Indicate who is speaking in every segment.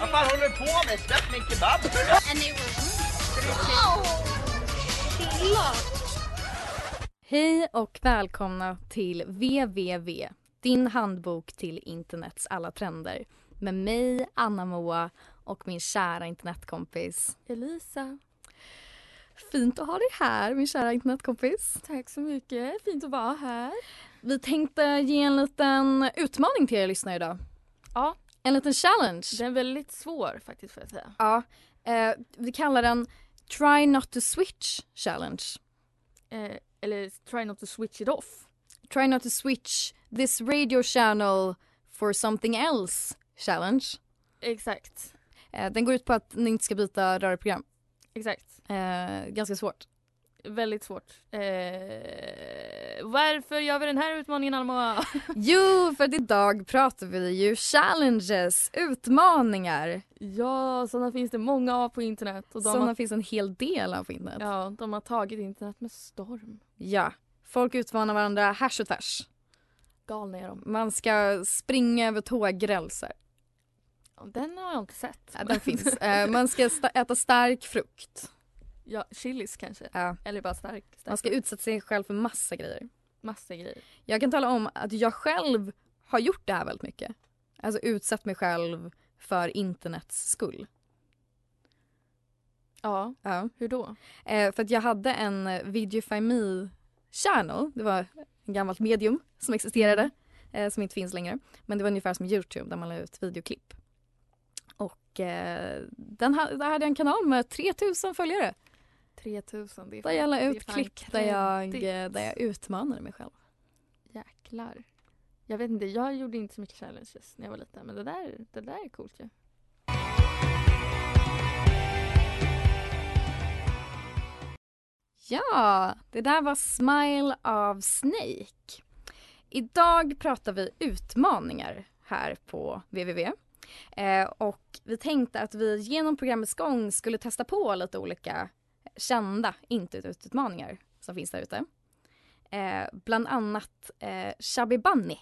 Speaker 1: Vad fan håller du på med? Släpp min kebab!
Speaker 2: Hej och välkomna till www, din handbok till internets alla trender. Med mig, Anna Moa och min kära internetkompis Elisa. Fint att ha dig här, min kära internetkompis.
Speaker 3: Tack så mycket. Fint att vara här.
Speaker 2: Vi tänkte ge en liten utmaning till er lyssnare idag.
Speaker 3: Ja.
Speaker 2: En liten challenge.
Speaker 3: Den är väldigt svår faktiskt får jag säga.
Speaker 2: Ja. Eh, vi kallar den Try Not To Switch Challenge.
Speaker 3: Eh, eller try not to switch it off.
Speaker 2: Try Not To Switch This Radio Channel For Something Else Challenge.
Speaker 3: Exakt.
Speaker 2: Eh, Den går ut på att ni inte ska byta rörprogram.
Speaker 3: Exakt.
Speaker 2: Eh, ganska svårt.
Speaker 3: Väldigt svårt. Eh, varför gör vi den här utmaningen Alma?
Speaker 2: Jo, för att idag pratar vi ju challenges, utmaningar.
Speaker 3: ja, sådana finns det många av på internet. Och de,
Speaker 2: Sådana
Speaker 3: har,
Speaker 2: finns en hel del av på internet. Ja.
Speaker 3: ja, de har tagit internet med storm.
Speaker 2: Folk utmanar varandra härs och tvärs.
Speaker 3: Galna är de.
Speaker 2: Man ska springa över tågrälsar.
Speaker 3: Den har jag inte sett.
Speaker 2: Ja, den finns.
Speaker 3: Ehm.
Speaker 2: Eh, man ska sta- äta stark frukt.
Speaker 3: ja, chilis kanske.
Speaker 2: Ja.
Speaker 3: Eller bara stark. stark
Speaker 2: Man ska utsätta sig själv för massa grejer.
Speaker 3: Massa grejer.
Speaker 2: Jag kan tala om att jag själv har gjort det här väldigt mycket. Alltså utsatt mig själv för internets skull.
Speaker 3: Ja,
Speaker 2: Ja.
Speaker 3: hur då?
Speaker 2: Eh, för att jag hade en eh, Videofy Me channel. Det var en gammalt medium som existerade. Eh, som inte finns längre. Men det var ungefär som Youtube där man la ut videoklipp. Och eh, den ha, där hade jag en kanal med 3000 följare.
Speaker 3: 3000, det är
Speaker 2: Där jag la
Speaker 3: det är
Speaker 2: ut
Speaker 3: fan
Speaker 2: klipp där jag,
Speaker 3: kreddigt.
Speaker 2: eh, där jag utmanade mig själv.
Speaker 3: Jäklar. Jag vet inte, jag gjorde inte så mycket challenges när jag var liten men det där, det där är coolt ju.
Speaker 2: Ja, det där var Smile av Snake. Idag pratar vi utmaningar här på www. Eh, och vi tänkte att vi genom programmets gång skulle testa på lite olika kända internetutmaningar som finns där ute. Eh, bland annat eh, Chubby Bunny.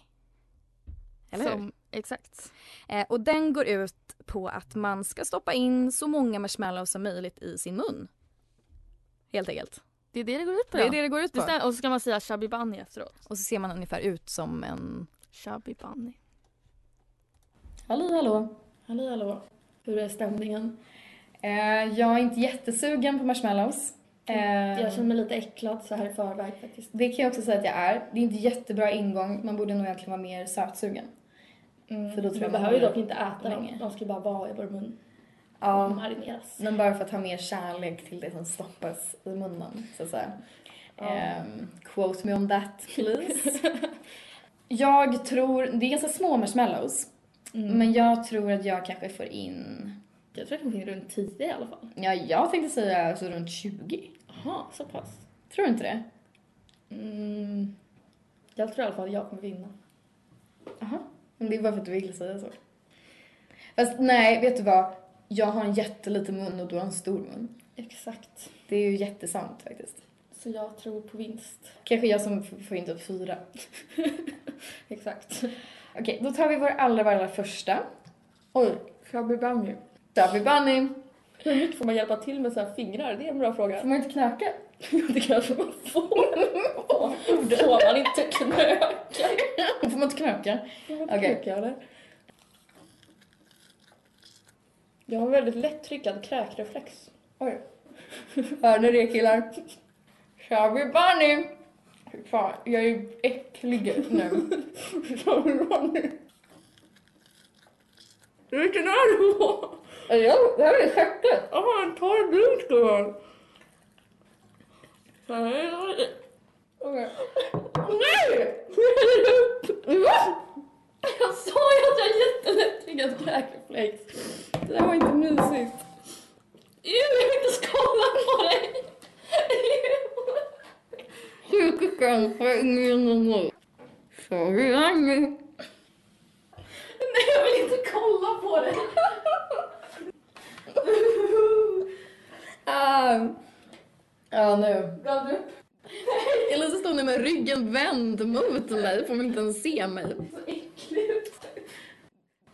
Speaker 2: Eller hur?
Speaker 3: Som, exakt.
Speaker 2: Eh, och den går ut på att man ska stoppa in så många marshmallows som möjligt i sin mun. Helt enkelt.
Speaker 3: Det är det det går ut på
Speaker 2: Det är
Speaker 3: ja.
Speaker 2: det det går ut
Speaker 3: Det
Speaker 2: på.
Speaker 3: stämmer. Och så ska man säga Chubby Bunny efteråt.
Speaker 2: Och så ser man ungefär ut som en...
Speaker 3: Chubby Bunny. Halli hallå. Halli hallå. Hur är stämningen?
Speaker 2: Eh, jag är inte jättesugen på marshmallows. Eh,
Speaker 3: Jag känner mig lite äcklad så här i förväg faktiskt.
Speaker 2: Det kan jag också säga att jag är. Det är inte jättebra ingång. Man borde nog egentligen vara mer sötsugen. För då tror jag man
Speaker 3: Mm. behöver ju
Speaker 2: håller
Speaker 3: dock inte äta
Speaker 2: länge.
Speaker 3: dem. De ska bara vara i vår mun och
Speaker 2: Ja,
Speaker 3: marineras.
Speaker 2: men bara för att ha mer kärlek till det som stoppas i munnen, så att säga. Ehm, quote me on that, please. jag tror... Det är ganska små marshmallows.
Speaker 3: Mm.
Speaker 2: Men jag tror att jag kanske får in...
Speaker 3: Jag tror att det är runt 10 i alla fall.
Speaker 2: Ja, jag tänkte säga alltså runt 20.
Speaker 3: Jaha, så pass.
Speaker 2: Tror du inte det?
Speaker 3: Mm. Jag tror i alla fall att jag kommer vinna.
Speaker 2: Jaha, men det är bara för att du vill säga så. Fast nej, vet du vad? Jag har en jätteliten mun och du har en stor mun.
Speaker 3: Exakt.
Speaker 2: Det är ju jättesant faktiskt.
Speaker 3: Så jag tror på vinst.
Speaker 2: Kanske jag som f- får in typ fyra.
Speaker 3: Exakt.
Speaker 2: Okej, då tar vi vår allra, allra första. Oj,
Speaker 3: Shabby Bunny.
Speaker 2: Dubby Bunny.
Speaker 3: Hur mycket får man hjälpa till med sina fingrar? Det är en bra fråga.
Speaker 2: Får man inte knöka?
Speaker 3: Det kanske man får. Får man inte knöka?
Speaker 2: Får man inte knöka?
Speaker 3: Får man
Speaker 2: Okej.
Speaker 3: knöka, eller?
Speaker 2: Jag har en väldigt lättryckad kräkreflex. Oj. Hör ni det killar? Kör vi bunny! Fy Fan, jag är äcklig nu. Kör vi bunny? Vilken är det på? Det här är sjätte. Jaha, ta en bit gumman. Nej! Okej. Nej! Va? Jag sa ju att jag är jättelättryckad kräkreflex. Det där var inte mysigt. Ew, jag vill inte skala på dig! Psykiken har ingen energi. Sorry, Annie. Nej, jag vill inte kolla på dig! Ah. Ja, nu. Gav du upp? Eller så stod ni med ryggen vänd mot mig, får man inte ens se mig. Så äckligt.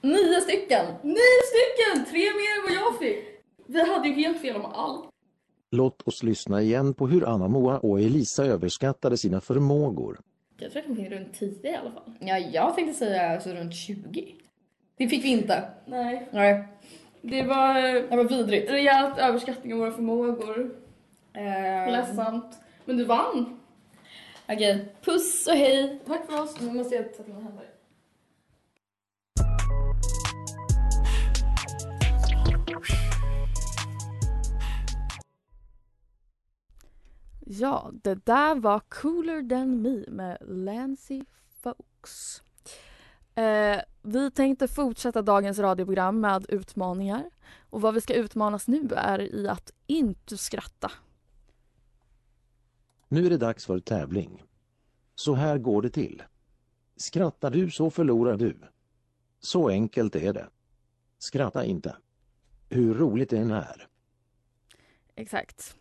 Speaker 2: Nio stycken! Nio stycken! Tre mer än vad jag fick! Vi hade ju helt fel om allt.
Speaker 4: Låt oss lyssna igen på hur Anna-Moa och Elisa överskattade sina förmågor.
Speaker 2: Jag tror att det fick runt 10 i alla fall. Ja, jag tänkte säga alltså runt 20. Det fick vi inte. Nej. Nej.
Speaker 5: Det var eh,
Speaker 2: Det var vidrigt.
Speaker 5: rejält överskattning av våra förmågor.
Speaker 6: Ehm.
Speaker 5: Ledsamt. Men du vann!
Speaker 2: Okej, puss och hej.
Speaker 5: Tack för oss. Nu måste jag tvätta mina händer.
Speaker 3: Ja, det där var Cooler than me med Lancy Fox. Eh, vi tänkte fortsätta dagens radioprogram med utmaningar. Och vad vi ska utmanas nu är i att inte skratta.
Speaker 4: Nu är det dags för tävling. Så här går det till. Skrattar du så förlorar du. Så enkelt är det. Skratta inte. Hur roligt det än är.
Speaker 3: Exakt.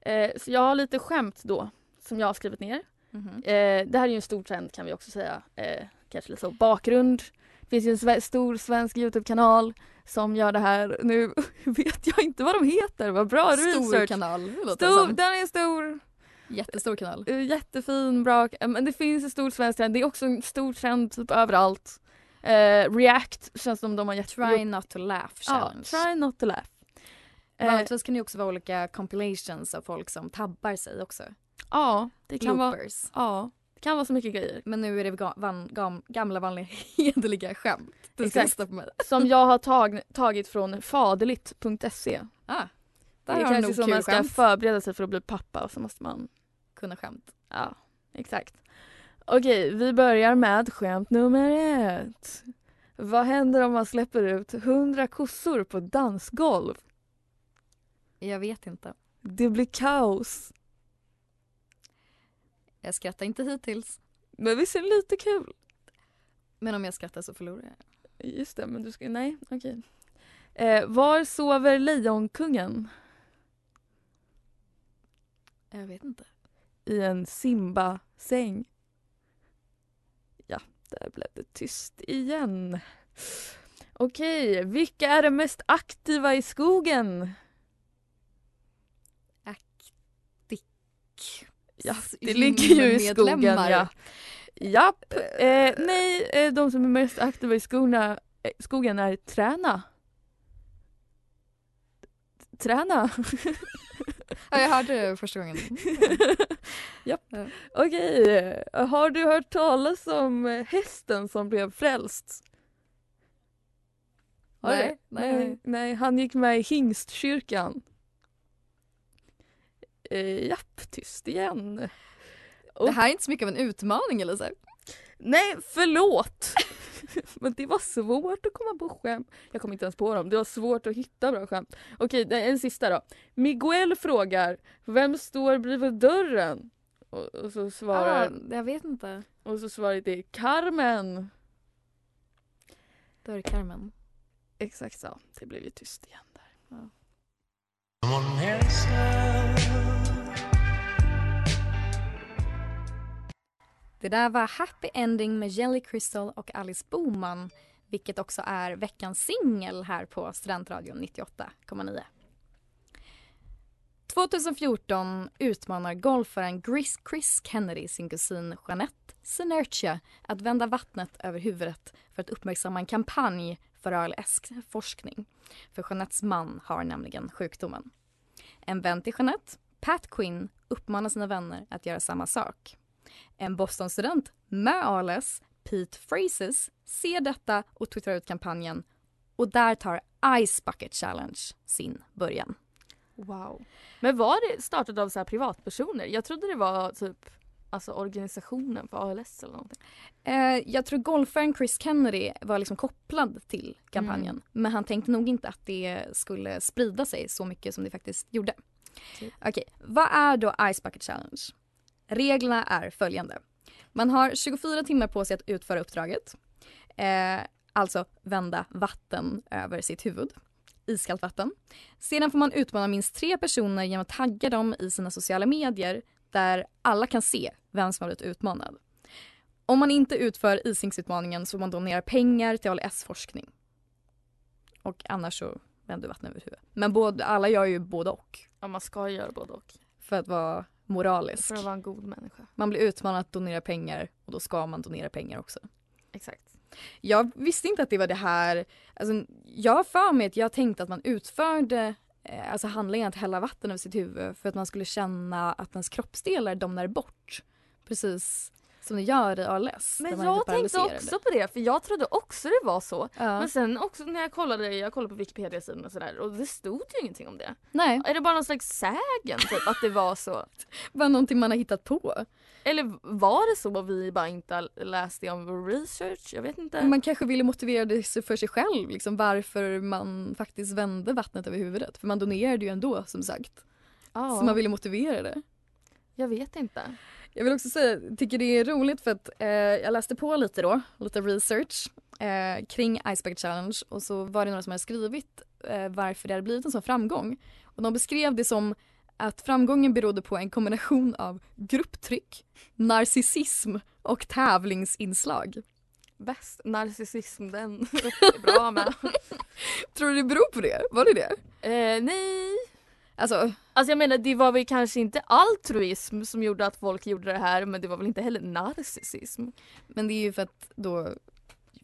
Speaker 3: Eh, så jag har lite skämt då, som jag har skrivit ner.
Speaker 6: Mhm.
Speaker 3: Eh, det här är ju en stor trend kan vi också säga. Eh, kanske lite så bakgrund. Det finns ju en sve- stor svensk Youtube-kanal som gör det här. Nu vet jag inte vad de heter, vad bra
Speaker 6: Stor
Speaker 3: research.
Speaker 6: kanal, det låter
Speaker 3: Stor,
Speaker 6: som.
Speaker 3: den är stor,
Speaker 6: Jättestor kanal.
Speaker 3: eh, jättefin, bra. eh, Men det finns en stor svensk trend. Det är också en stor trend typ överallt. Eh, react känns som de har jätte...
Speaker 6: Try not to laugh
Speaker 3: ja,
Speaker 6: challenge.
Speaker 3: try not to laugh. Eh,
Speaker 6: Vanligtvis kan det ju också vara olika compilations av folk som tabbar sig också.
Speaker 3: ja, det kan vara,
Speaker 6: Bloopers.
Speaker 3: ja, det kan vara så mycket grejer.
Speaker 6: Men nu är det ga- van, gam, gamla vanliga hederliga skämt. Du ska
Speaker 3: Exakt.
Speaker 6: lyssna på mig.
Speaker 3: Som jag har tag, tagit från faderligt.se.
Speaker 6: Ah,
Speaker 3: Det
Speaker 6: där
Speaker 3: är
Speaker 6: har du
Speaker 3: kanske
Speaker 6: nog
Speaker 3: som man
Speaker 6: kul
Speaker 3: ska
Speaker 6: skämt.
Speaker 3: förbereda sig för att bli pappa och så måste man,
Speaker 6: Kunna skämt.
Speaker 3: ja exakt. Okej, vi börjar med skämt nummer ett. Vad händer om man släpper ut hundra kossor på ett dansgolv?
Speaker 6: Jag vet inte.
Speaker 3: Det blir kaos.
Speaker 6: Jag skrattar inte hittills.
Speaker 3: Men visst är det lite kul?
Speaker 6: Men om jag skrattar så förlorar jag.
Speaker 3: Just det, men du ska, nej okej. Eh, var sover lejonkungen?
Speaker 6: Jag vet inte.
Speaker 3: I en Simba-säng. Ja, där blev det tyst igen. Okej, vilka är de mest aktiva i skogen? Ja, det ligger ju i skogen.
Speaker 6: Gymmedlemmar.
Speaker 3: Ja. Japp. Eh, nej, eh, de som är mest aktiva i skorna, eh, skogen är träna. Träna.
Speaker 6: Ja, jag hörde det första gången.
Speaker 3: Japp.
Speaker 6: Ja.
Speaker 3: Okej, eh, har du hört talas om eh, hästen som blev frälst? Har du?
Speaker 6: Nej, nej,
Speaker 3: nej. Nej, han gick med i hingstkyrkan. Eh, japp, tyst igen.
Speaker 6: Det här är inte så mycket av en utmaning Elisa.
Speaker 3: Nej, förlåt! Men det var svårt att komma på skämt. Jag kom inte ens på dem. Det var svårt att hitta bra skämt. Okej, det är en sista då. Miguel frågar Vem står bredvid dörren? Och, och så svarar
Speaker 6: Ah, jag vet inte.
Speaker 3: och så svarar det Carmen.
Speaker 6: Dörrkarmen.
Speaker 3: Exakt så. Det blev ju tyst igen där.
Speaker 6: Det där var Happy Ending med Jelly Crystal och Alice Boman. Vilket också är veckans singel här på Studentradion 98,9. 2014 utmanar golfaren Chris, Chris Kennedy sin kusin Jeanette Senertia att vända vattnet över huvudet för att uppmärksamma en kampanj faral forskning. För Jeanettes man har nämligen sjukdomen. En vän till Jeanette, Pat Quinn, uppmanar sina vänner att göra samma sak. En Boston-student med ALS, Pete Phrases, ser detta och twittrar ut kampanjen och där tar Ice Bucket Challenge sin början.
Speaker 3: Wow. Men var det startat av så här privatpersoner? Jag trodde det var typ alltså organisationen för ALS eller någonting.
Speaker 6: Eh, jag tror golfaren Chris Kennedy var liksom kopplad till kampanjen men han tänkte nog inte att det skulle sprida sig så mycket som det faktiskt gjorde.
Speaker 3: Typ.
Speaker 6: Okej, vad är då Ice Bucket Challenge? Reglerna är följande. Man har 24 timmar på sig att utföra uppdraget. Eh, alltså vända vatten över sitt huvud. Iskallt vatten. Sedan får man utmana minst tre personer genom att tagga dem i sina sociala medier där alla kan se vem som har blivit utmanad. Om man inte utför isingsutmaningen så får man donera pengar till ALS-forskning. Och annars så vänder du vattnet över huvudet. Men både, alla gör ju både och
Speaker 3: Ja man ska göra både och.
Speaker 6: för att vara moralisk.
Speaker 3: För att vara en god människa.
Speaker 6: Man blir utmanad att donera pengar och då ska man donera pengar också.
Speaker 3: Exakt.
Speaker 6: Jag visste inte att det var det här. Alltså, jag har för mig att jag tänkte att man utförde eh, alltså handlingen att hälla vatten över sitt huvud för att man skulle känna att ens kroppsdelar domnar bort. Precis som det gör i ALS. där
Speaker 3: Men
Speaker 6: man
Speaker 3: jag
Speaker 6: blir
Speaker 3: tänkte
Speaker 6: paralyserad.
Speaker 3: också på E det för jag trodde också det var så.
Speaker 6: Ja.
Speaker 3: Men sen också när jag kollade, jag kollade på Wikipedia-sidan och sådär och det stod ju ingenting om det.
Speaker 6: Nej,
Speaker 3: Är det bara någon slags sägen typ att det var så?
Speaker 6: bara någonting man har hittat på.
Speaker 3: Eller var det så att vi bara inte läste det om vår research? Jag vet inte.
Speaker 6: Man kanske ville motivera det sig för sig själv liksom, varför man faktiskt vände vattnet över huvudet. För man donerade ju ändå som sagt.
Speaker 3: ja,
Speaker 6: Så man ville motivera det.
Speaker 3: Jag vet inte.
Speaker 6: Jag vill också säga, tycker det är roligt för att eh, jag läste på lite då, lite research eh, kring Ice Bucket Challenge och så var det några som hade skrivit eh, varför det hade blivit en sån framgång. Och de beskrev det som att framgången berodde på en kombination av grupptryck, narcissism och tävlingsinslag.
Speaker 3: Bäst narcissism den är bra med.
Speaker 6: Tror du det beror på det? Var det det?
Speaker 3: eh, nej.
Speaker 6: Alltså,
Speaker 3: Alltså jag menar det var väl kanske inte altruism som gjorde att folk gjorde det här men det var väl inte heller narcissism.
Speaker 6: men det är ju för att då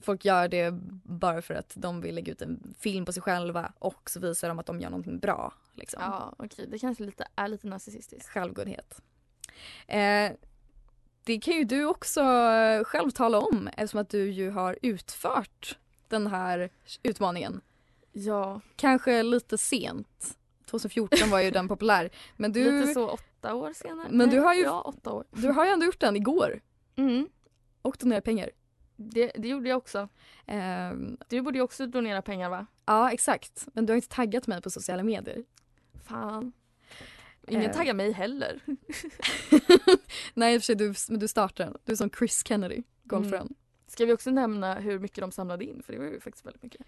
Speaker 6: folk gör det bara för att de vill lägga ut en film på sig själva och så visar de att de gör någonting bra. Liksom.
Speaker 3: Ja okej det kanske lite, är lite narcissistiskt.
Speaker 6: självgodhet. Eh, det kan ju du också eh, själv tala om eftersom att du ju har utfört den här utmaningen.
Speaker 3: Ja,
Speaker 6: Kanske lite sent. 2014 var ju den populär. Men
Speaker 3: lite
Speaker 6: du,
Speaker 3: så åtta år senare.
Speaker 6: Men du
Speaker 3: Nej,
Speaker 6: har ju-
Speaker 3: Ja åtta år.
Speaker 6: du har ju ändå gjort den igår
Speaker 3: Mm.
Speaker 6: och donerat pengar.
Speaker 3: Det, det gjorde jag också.
Speaker 6: Eh,
Speaker 3: Du borde ju också donera pengar va?
Speaker 6: ja, exakt. Men du har inte taggat mig på sociala medier.
Speaker 3: Fan. Ingen
Speaker 6: Eh.
Speaker 3: taggar mig heller.
Speaker 6: Nej, i och för sig, du, men du startar den. Du är som Chris Kennedy, golfaren.
Speaker 3: Ska vi också nämna hur mycket de samlade in? För det var ju faktiskt väldigt mycket.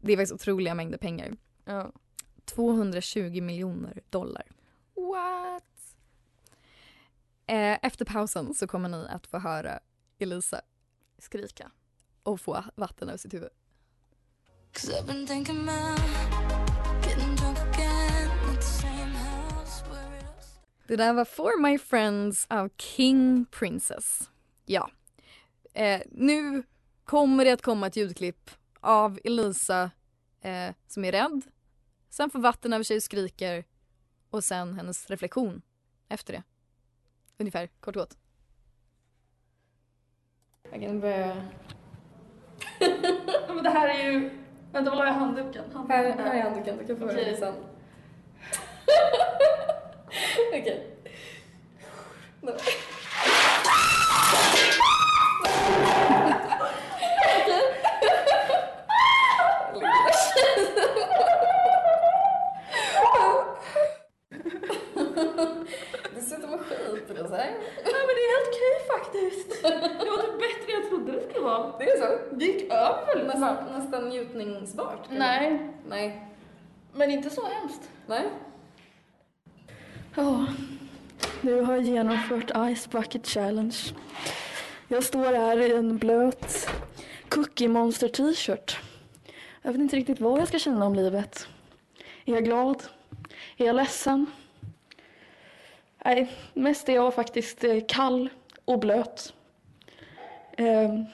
Speaker 6: Det är faktiskt otroliga mängder pengar.
Speaker 3: Ja.
Speaker 6: 220 miljoner dollar.
Speaker 3: What?
Speaker 6: Eh, Efter pausen så kommer ni att få höra Elisa
Speaker 3: Skrika.
Speaker 6: och få vatten över sitt huvud. Det där var For My Friends av King Princess. Ja. Eh, nu kommer det att komma ett ljudklipp av Elisa eh, som är rädd, sen får vatten över sig och skriker och sen hennes reflektion efter det. Ungefär, kort och gott.
Speaker 5: Jag kan börja... Men det här är ju... Vänta, var la jag handduken? Här, här är handduken, du kan få den sen. Okej. Nej. Okej. Lilla tjejen. Du sitter med skit i det så här. Nej men det är helt okej faktiskt. Det var typ bättre än jag trodde det skulle vara. Det är så? Det gick över nästan.
Speaker 6: Nästan njutningsbart.
Speaker 5: Nej,
Speaker 6: Nej.
Speaker 5: men inte så hemskt.
Speaker 6: Nej.
Speaker 5: Ja, nu har jag genomfört Ice Bucket Challenge. Jag står här i en blöt Cookie Monster t-shirt. Jag vet inte riktigt vad jag ska känna om livet. Är jag glad? Är jag ledsen? Nej, mest är jag faktiskt eh, kall och blöt. Ehm,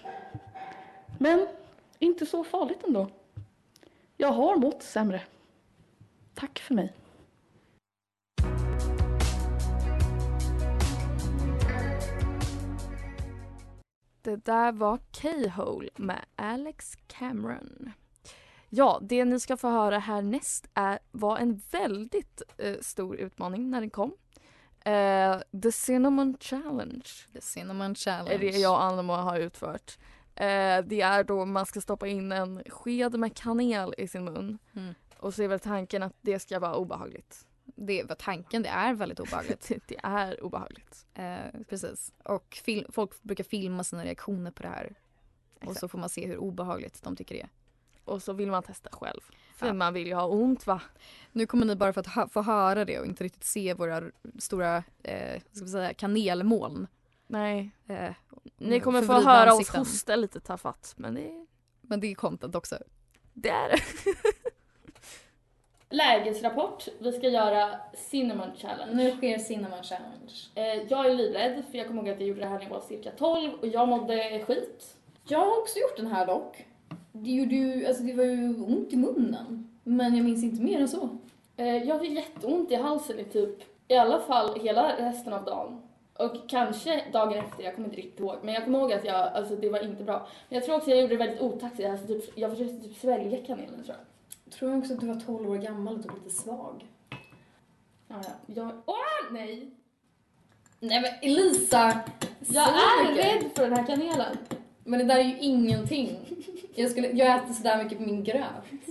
Speaker 5: Men inte så farligt ändå. Jag har mått sämre. Tack för mig.
Speaker 6: Det där var K-Hole med Alex Cameron. Ja, det ni ska få höra härnäst är, var en väldigt eh, stor utmaning när den kom. Eh, The Cinnamon Challenge
Speaker 2: The Cinnamon Challenge.
Speaker 6: är det jag och Anna har utfört. Eh, det är då man ska stoppa in en sked med kanel i sin mun
Speaker 2: Mm.
Speaker 6: och så är väl tanken att det ska vara obehagligt.
Speaker 2: det var tanken, det är väldigt obehagligt.
Speaker 6: Det, det är obehagligt.
Speaker 2: eh, precis. Och fil- folk brukar filma sina reaktioner på det här. Och så får man se hur obehagligt de tycker det är.
Speaker 6: Och så vill man testa själv. För
Speaker 2: Ja.
Speaker 6: man vill ju ha ont va?
Speaker 2: Nu kommer ni bara för att hö- få höra det och inte riktigt se våra r- stora eh, vad ska vi säga, kanelmoln.
Speaker 6: Nej.
Speaker 2: Eh,
Speaker 6: Ni kommer få
Speaker 2: förvridna
Speaker 6: höra
Speaker 2: ansikten.
Speaker 6: oss hosta lite tafatt men det,
Speaker 2: Men det är content också.
Speaker 6: det är det.
Speaker 7: Lägesrapport. Vi ska göra Cinnamon Challenge.
Speaker 2: Nu sker Cinnamon Challenge.
Speaker 7: Eh, jag är livrädd för jag kommer ihåg att jag gjorde det här när jag var cirka 12 och jag mådde skit.
Speaker 2: Jag har också gjort den här dock. Det, gjorde ju, alltså det var ju ont i munnen. Men jag minns inte mer än så.
Speaker 7: Eh, jag fick jätteont i halsen i typ i alla fall hela resten av dagen. Och kanske dagen efter, jag kommer inte riktigt ihåg. Men jag kommer ihåg att jag, alltså det var inte bra. Men jag tror också att jag gjorde det väldigt otacksigt. Alltså typ, jag försökte typ svälja kanelen tror jag.
Speaker 2: Tror jag också att du var 12 år gammal och typ lite svag.
Speaker 7: Ja, ja. Jag, åh nej!
Speaker 2: Nej men Elisa!
Speaker 7: Jag
Speaker 2: säg
Speaker 7: är
Speaker 2: mycket.
Speaker 7: rädd för den här kanelen.
Speaker 2: Men det där är ju ingenting. Jag, skulle, jag äter sådär mycket på min gröt.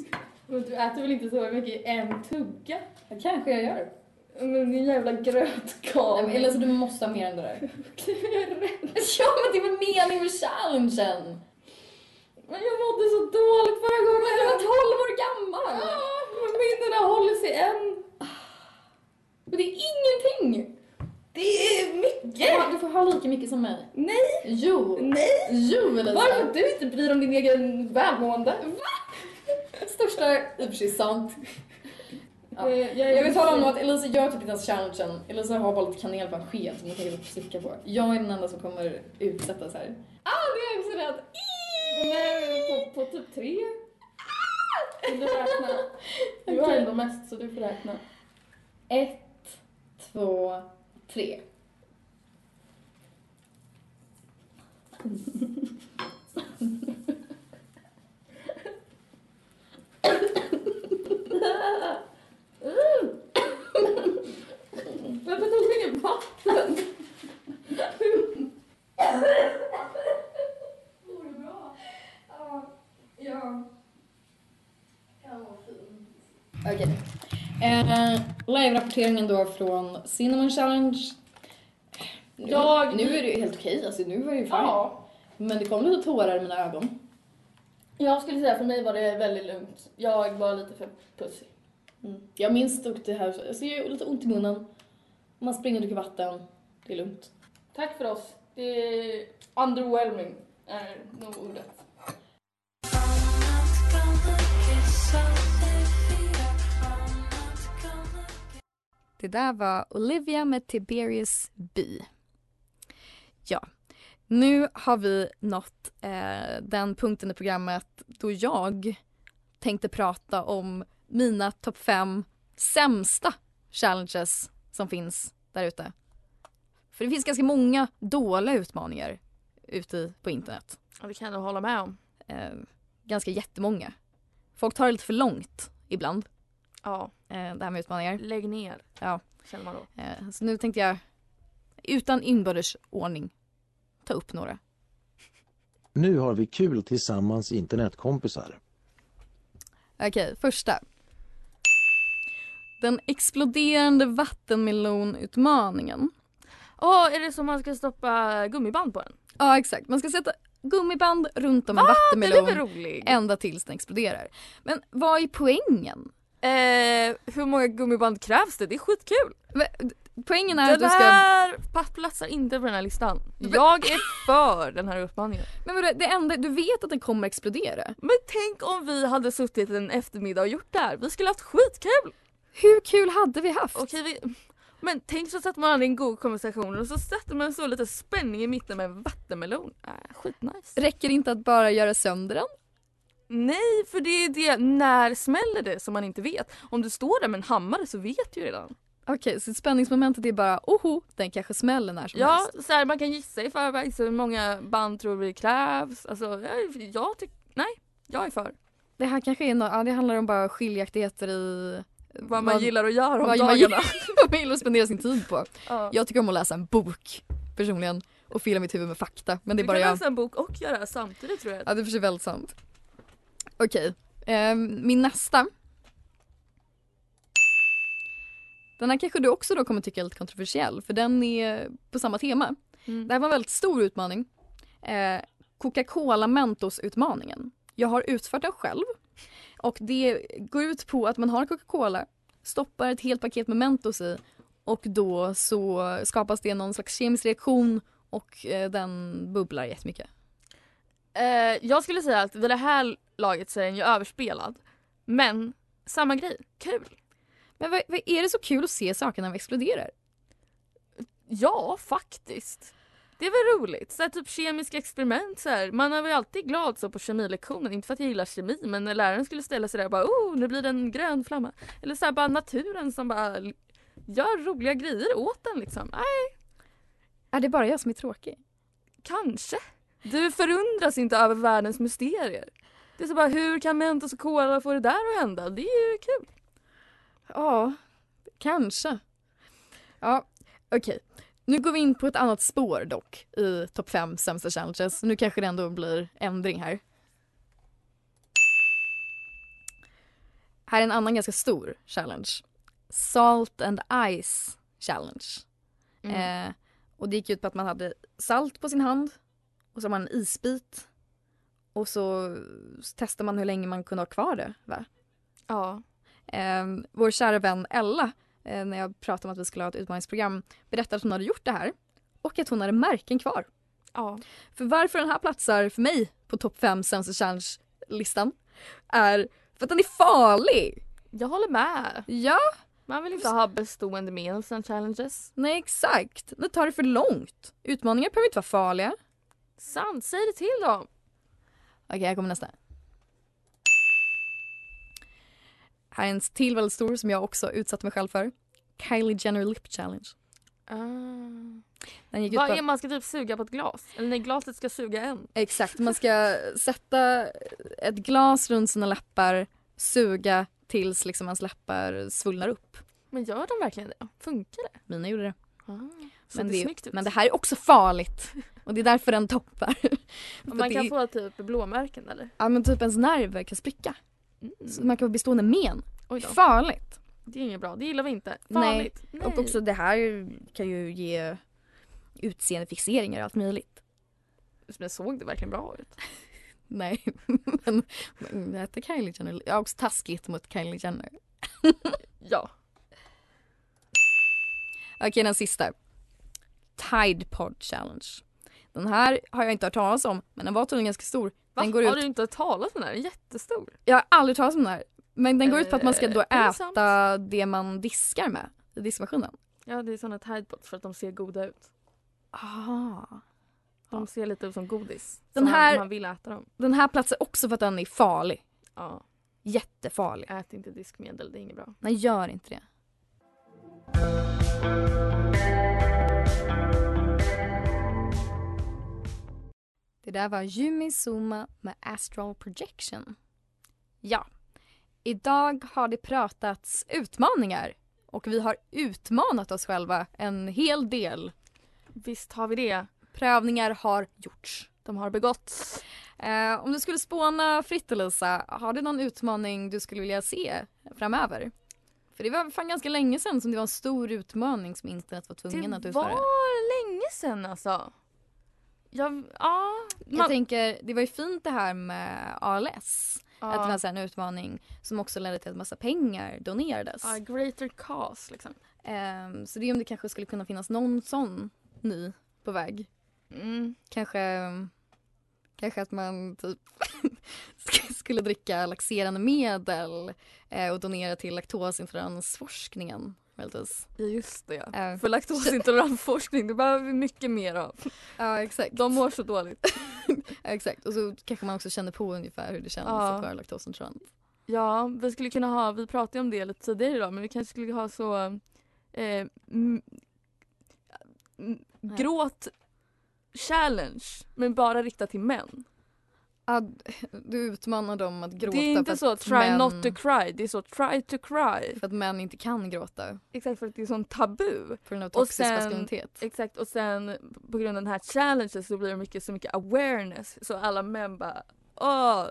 Speaker 7: Men du äter väl inte så mycket i en tugga?
Speaker 2: Det kanske jag gör.
Speaker 7: Men din jävla
Speaker 2: Nej,
Speaker 7: grötkarl.
Speaker 2: men Elisa du måste ha mer än det där. ja men det var meningen med challengen!
Speaker 7: Men jag mådde så dåligt förra gången. Jag var 12 år gammal. Men minnena håller sig än.
Speaker 2: Ah. Men det är ingenting!
Speaker 7: Det är
Speaker 2: Du
Speaker 7: mycket.
Speaker 2: får- Du får ha lika mycket som mig.
Speaker 7: Nej.
Speaker 2: Jo!
Speaker 7: Nej.
Speaker 2: Jo Elisa!
Speaker 7: Varför du inte bryr dig om din egen välmående?
Speaker 2: Största... I och för sig sant. Ja.
Speaker 7: Eh, är-
Speaker 2: Jag vill tala om att Elisa gör typ inte ens challengen. Elisa har bara lite kanel på en sked som hon tänker slicka på. Jag är den enda som kommer utsättas här.
Speaker 7: Ah, det är jag också rädd. Nej, på, på typ tre. Vill du räkna? Du har ändå mest så du får räkna.
Speaker 2: Ett, två, tre.
Speaker 7: Varför tog du inget vatten? Mår du bra? Ja. Ja. Jag mår fint.
Speaker 2: Okej. Eh, Live-rapporteringen då från Cinnamon Challenge. Nu,
Speaker 7: Jag-
Speaker 2: nu är det ju helt okej, alltså nu var det ju fine.
Speaker 7: Ja.
Speaker 2: Men det kom lite tårar i mina ögon.
Speaker 7: Jag skulle säga för mig var det väldigt lugnt. Jag var lite för pussig.
Speaker 2: Jag minns dock det här, alltså jag har lite ont i munnen. Man springer och dricker vatten. Det är lugnt.
Speaker 7: Tack för oss. Det är underwhelming är nog ordet.
Speaker 6: Det där var Olivia med Tiberius B. Ja, nu har vi nått eh, den punkten i programmet då jag tänkte prata om mina topp fem sämsta challenges som finns där ute. För det finns ganska många dåliga utmaningar ute i- på internet.
Speaker 3: Ja, det kan jag nog hålla med om.
Speaker 6: Eh, ganska jättemånga. Folk tar det lite för långt ibland,
Speaker 3: Ja,
Speaker 6: eh, det här med utmaningar.
Speaker 3: lägg ner.
Speaker 6: Ja.
Speaker 3: Känner man då.
Speaker 6: Eh, Så nu tänkte jag utan inbördes ordning ta upp några.
Speaker 4: Nu har vi kul tillsammans internetkompisar.
Speaker 6: Okej, första. Den exploderande vattenmelonutmaningen.
Speaker 3: Åh, är det som man ska stoppa gummiband på den?
Speaker 6: Ja, exakt. Man ska sätta gummiband runt om en
Speaker 3: Den Ah, är väl
Speaker 6: vattenmelon
Speaker 3: rolig?
Speaker 6: ända tills den exploderar. Men vad är poängen?
Speaker 3: Eh, hur många gummiband krävs det? Det är skitkul!
Speaker 6: V- Poängen är att du
Speaker 3: den
Speaker 6: ska...
Speaker 3: här pa- platsar inte på den här listan. Jag är för den här uppmaningen.
Speaker 6: Men vadå, det enda, du vet att den kommer explodera.
Speaker 3: Men tänk om vi hade suttit en eftermiddag och gjort det här. Vi skulle haft skitkul!
Speaker 6: Hur kul hade vi haft?
Speaker 3: Okej, vi... Men tänk så satt man hade en god konversation och så satte man så lite spänning i mitten med en vattenmelon. Äh, skitnice.
Speaker 6: Räcker det inte att bara göra sönder den?
Speaker 3: Nej, för det är det, när smäller det som man inte vet? Om du står där med en hammare så vet du ju redan.
Speaker 6: Okej, så spänningsmomentet är bara oho, den kanske smäller när som
Speaker 3: Ja,
Speaker 6: helst.
Speaker 3: så här, man kan gissa i förväg så hur många band tror vi krävs. Alltså, jag, jag tycker, nej, jag är för
Speaker 6: Det här kanske är no- ja, det handlar om bara skiljaktigheter i
Speaker 3: vad man gillar att göra om
Speaker 6: vad man
Speaker 3: dagarna.
Speaker 6: gillar, vad man gillar att spendera sin tid på.
Speaker 3: Ja.
Speaker 6: Jag tycker om att läsa en bok personligen och fylla mitt huvud med fakta. Men det är
Speaker 3: Du kan
Speaker 6: bara jag.
Speaker 3: läsa en bok och göra det här samtidigt tror jag.
Speaker 6: Ja, det är för sig väldigt sant. Okej, eh, min nästa. Den här kanske du också då kommer tycka är lite kontroversiell för den är på samma tema.
Speaker 3: Mm.
Speaker 6: Det här var en väldigt stor utmaning. Eh, Coca-Cola Mentos-utmaningen. Jag har utfört den själv och det går ut på att man har Coca-Cola, stoppar ett helt paket med Mentos i och då så skapas det någon slags kemisk reaktion och eh, den bubblar jättemycket.
Speaker 3: Eh, jag skulle säga att vid det här laget så är den ju överspelad. Men samma grej, kul.
Speaker 6: Men vad, vad är det så kul att se sakerna exploderar?
Speaker 3: Ja, faktiskt. Det är väl roligt. Så här, typ kemiska experiment så här. Man är väl alltid glad så på kemilektionen. Inte för att jag gillar kemi men när läraren skulle ställa sig där och bara oh nu blir det en grön flamma. Eller så här, bara naturen som bara l- gör roliga grejer åt den liksom. Nej,
Speaker 6: Är det bara jag som är tråkig?
Speaker 3: kanske. Du förundras inte över världens mysterier. Det är så bara hur kan Mentos och Cola få det där att hända? Det är ju kul.
Speaker 6: Ja, kanske. Ja, okej. Nu går vi in på ett annat spår dock i topp 5 sämsta challenges. Nu kanske det ändå blir ändring här. Här är en annan ganska stor challenge. Salt and Ice Challenge. Eh, och det gick ut på att man hade salt på sin hand och så har man en isbit och så testar man hur länge man kunde ha kvar det. Va?
Speaker 3: Ja.
Speaker 6: Eh, vår kära vän Ella, eh, när jag pratade om att vi skulle ha ett utmaningsprogram, berättade att hon hade gjort det här och att hon hade märken kvar.
Speaker 3: Ja.
Speaker 6: För varför den här platsar för mig på topp 5 sämsta challenge-listan är för att den är farlig!
Speaker 3: Jag håller med.
Speaker 6: Ja,
Speaker 3: Man vill inte ha bestående med sina challenges.
Speaker 6: nej exakt. Nu tar det för långt. Utmaningar behöver inte vara farliga.
Speaker 3: Sant, säg det till dem.
Speaker 6: Okej, här kommer nästa. Här är en till väldigt stor som jag också utsatte mig själv för. Kylie Jenner Lip Challenge. Den gick ut
Speaker 3: Vad
Speaker 6: på
Speaker 3: är man ska typ suga på ett glas? Eller nej, glaset ska suga en.
Speaker 6: Exakt, man ska sätta ett glas runt sina läppar, suga tills liksom ens läppar svullnar upp.
Speaker 3: Men gör de verkligen det? Funkar det?
Speaker 6: Mina gjorde det.
Speaker 3: Så
Speaker 6: Men
Speaker 3: det,
Speaker 6: det-
Speaker 3: är snyggt ut.
Speaker 6: Men det här är också farligt och det är därför den toppar.
Speaker 3: Och
Speaker 6: För att
Speaker 3: man
Speaker 6: det
Speaker 3: kan
Speaker 6: är-
Speaker 3: få typ blåmärken eller?
Speaker 6: Ja men typ ens nerver kan spricka. Så man kan få bestående men.
Speaker 3: Oj
Speaker 6: Det är
Speaker 3: då.
Speaker 6: farligt.
Speaker 3: Det är inget bra, det gillar vi inte.
Speaker 6: Nej.
Speaker 3: Farligt. Nej.
Speaker 6: Och också det här kan ju ge utseendefixeringar och allt möjligt.
Speaker 3: Men såg det verkligen bra ut?
Speaker 6: Nej, men, men äta Kylie Jenner. Jag är också taskigt mot Kylie Jenner.
Speaker 3: Ja.
Speaker 6: Okej, den sista. Tide Pod Challenge. Den här har jag inte hört talas om, men den var tydligen ganska stor.
Speaker 3: Va?
Speaker 6: Den går
Speaker 3: Har
Speaker 6: ut-
Speaker 3: du inte hört talas om den här? Den är jättestor.
Speaker 6: Jag har aldrig hört talas om den här. Men den går ut på att man ska då
Speaker 3: Eh, pinsamt.
Speaker 6: äta det man diskar med i diskmaskinen.
Speaker 3: Ja det är såna tidepods för att de ser goda ut.
Speaker 6: Aha.
Speaker 3: De ser lite ut som godis.
Speaker 6: Den
Speaker 3: så
Speaker 6: här-
Speaker 3: man, man vill äta dem.
Speaker 6: Den här platsar också för att den är farlig.
Speaker 3: Ja.
Speaker 6: Jättefarlig.
Speaker 3: Ät inte diskmedel, det är inget bra.
Speaker 6: Nej, gör inte det. Det där var Yumi Suma med Astral Projection. Ja, idag har det pratats utmaningar och vi har utmanat oss själva en hel del.
Speaker 3: Visst har vi det.
Speaker 6: Prövningar har gjorts.
Speaker 3: De har begåtts.
Speaker 6: Eh, om du skulle spåna fritt Elisa, har du någon utmaning du skulle vilja se framöver? För det var fan ganska länge sedan som det var en stor utmaning som internet var tvungen att
Speaker 3: det
Speaker 6: utföra.
Speaker 3: var länge sedan alltså. Jag, ja,
Speaker 6: Jag
Speaker 3: man-
Speaker 6: tänker, det var ju fint det här med ALS.
Speaker 3: ja.
Speaker 6: Att det var så här en utmaning som också ledde till att massa pengar donerades.
Speaker 3: Ja, greater cause liksom.
Speaker 6: Ehm, så det är om det kanske skulle kunna finnas någon sån ny på väg.
Speaker 3: Mm.
Speaker 6: Kanske, kanske att man typ sk- skulle dricka laxerande medel eh, och donera till laktosintolerans forskningen möjligtvis.
Speaker 3: Ja, just det. ja.
Speaker 6: Eh,
Speaker 3: För laktosintolerant forskning, det behöver vi mycket mer av.
Speaker 6: ja exakt.
Speaker 3: De mår så dåligt.
Speaker 6: Ja, exakt. Och så kanske man också känner på ungefär hur det känns
Speaker 3: Ja.
Speaker 6: att vara laktosintolerant.
Speaker 3: Ja, vi skulle kunna ha, vi pratade ju om det lite tidigare idag, men vi kanske skulle ha så eh, m- m- gråt challenge, men bara riktat till män.
Speaker 6: Ah, du utmanar dem att gråta
Speaker 3: det är inte
Speaker 6: för,
Speaker 3: så
Speaker 6: att
Speaker 3: try not to cry, det är så try to cry.
Speaker 6: för att män inte kan gråta
Speaker 3: Exakt, för att det är sån tabu.
Speaker 6: på grund av toxisk
Speaker 3: sen-
Speaker 6: maskulinitet.
Speaker 3: Exakt, och sen på grund av den här challengen så blir det mycket, så mycket awareness, så alla män bara åh.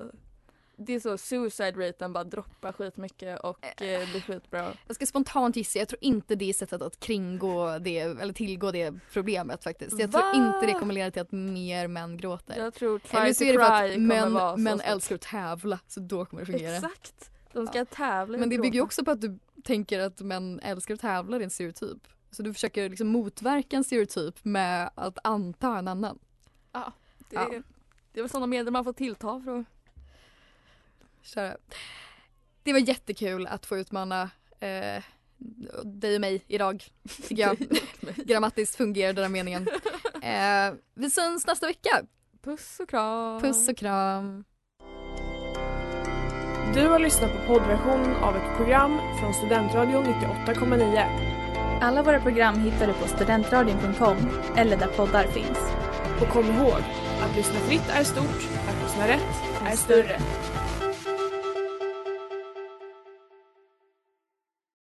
Speaker 3: Det är så suicide raten bara droppar skitmycket och eh, blir skitbra.
Speaker 6: Jag ska spontant gissa, jag tror inte det är sättet att kringgå det eller tillgå det problemet faktiskt. Jag
Speaker 3: Va?
Speaker 6: tror inte det kommer leda till att mer män gråter.
Speaker 3: Jag tror try
Speaker 6: Eller
Speaker 3: to
Speaker 6: så är det för
Speaker 3: cry
Speaker 6: att
Speaker 3: kommer
Speaker 6: män,
Speaker 3: vara så
Speaker 6: män
Speaker 3: stort.
Speaker 6: älskar att tävla så då kommer det fungera.
Speaker 3: Exakt! De ska tävla i
Speaker 6: Men det
Speaker 3: bråk.
Speaker 6: bygger ju också på att du tänker att män älskar att tävla, det är en stereotyp. Så du försöker liksom motverka en stereotyp med att anta en annan.
Speaker 3: Det är,
Speaker 6: Ja.
Speaker 3: det är väl sådana medel man får tillta för att
Speaker 6: Kära. Det var jättekul att få utmana eh, dig och mig idag. Tycker jag. Grammatiskt fungerade den här meningen. Eh, vi syns nästa vecka.
Speaker 3: Puss och kram!
Speaker 6: Puss och kram.
Speaker 8: Du har lyssnat på poddversionen av ett program från Studentradion 98,9.
Speaker 9: Alla våra program hittar du på studentradion.com eller där poddar finns.
Speaker 8: Och kom ihåg, att lyssna fritt är stort, att lyssna rätt är större.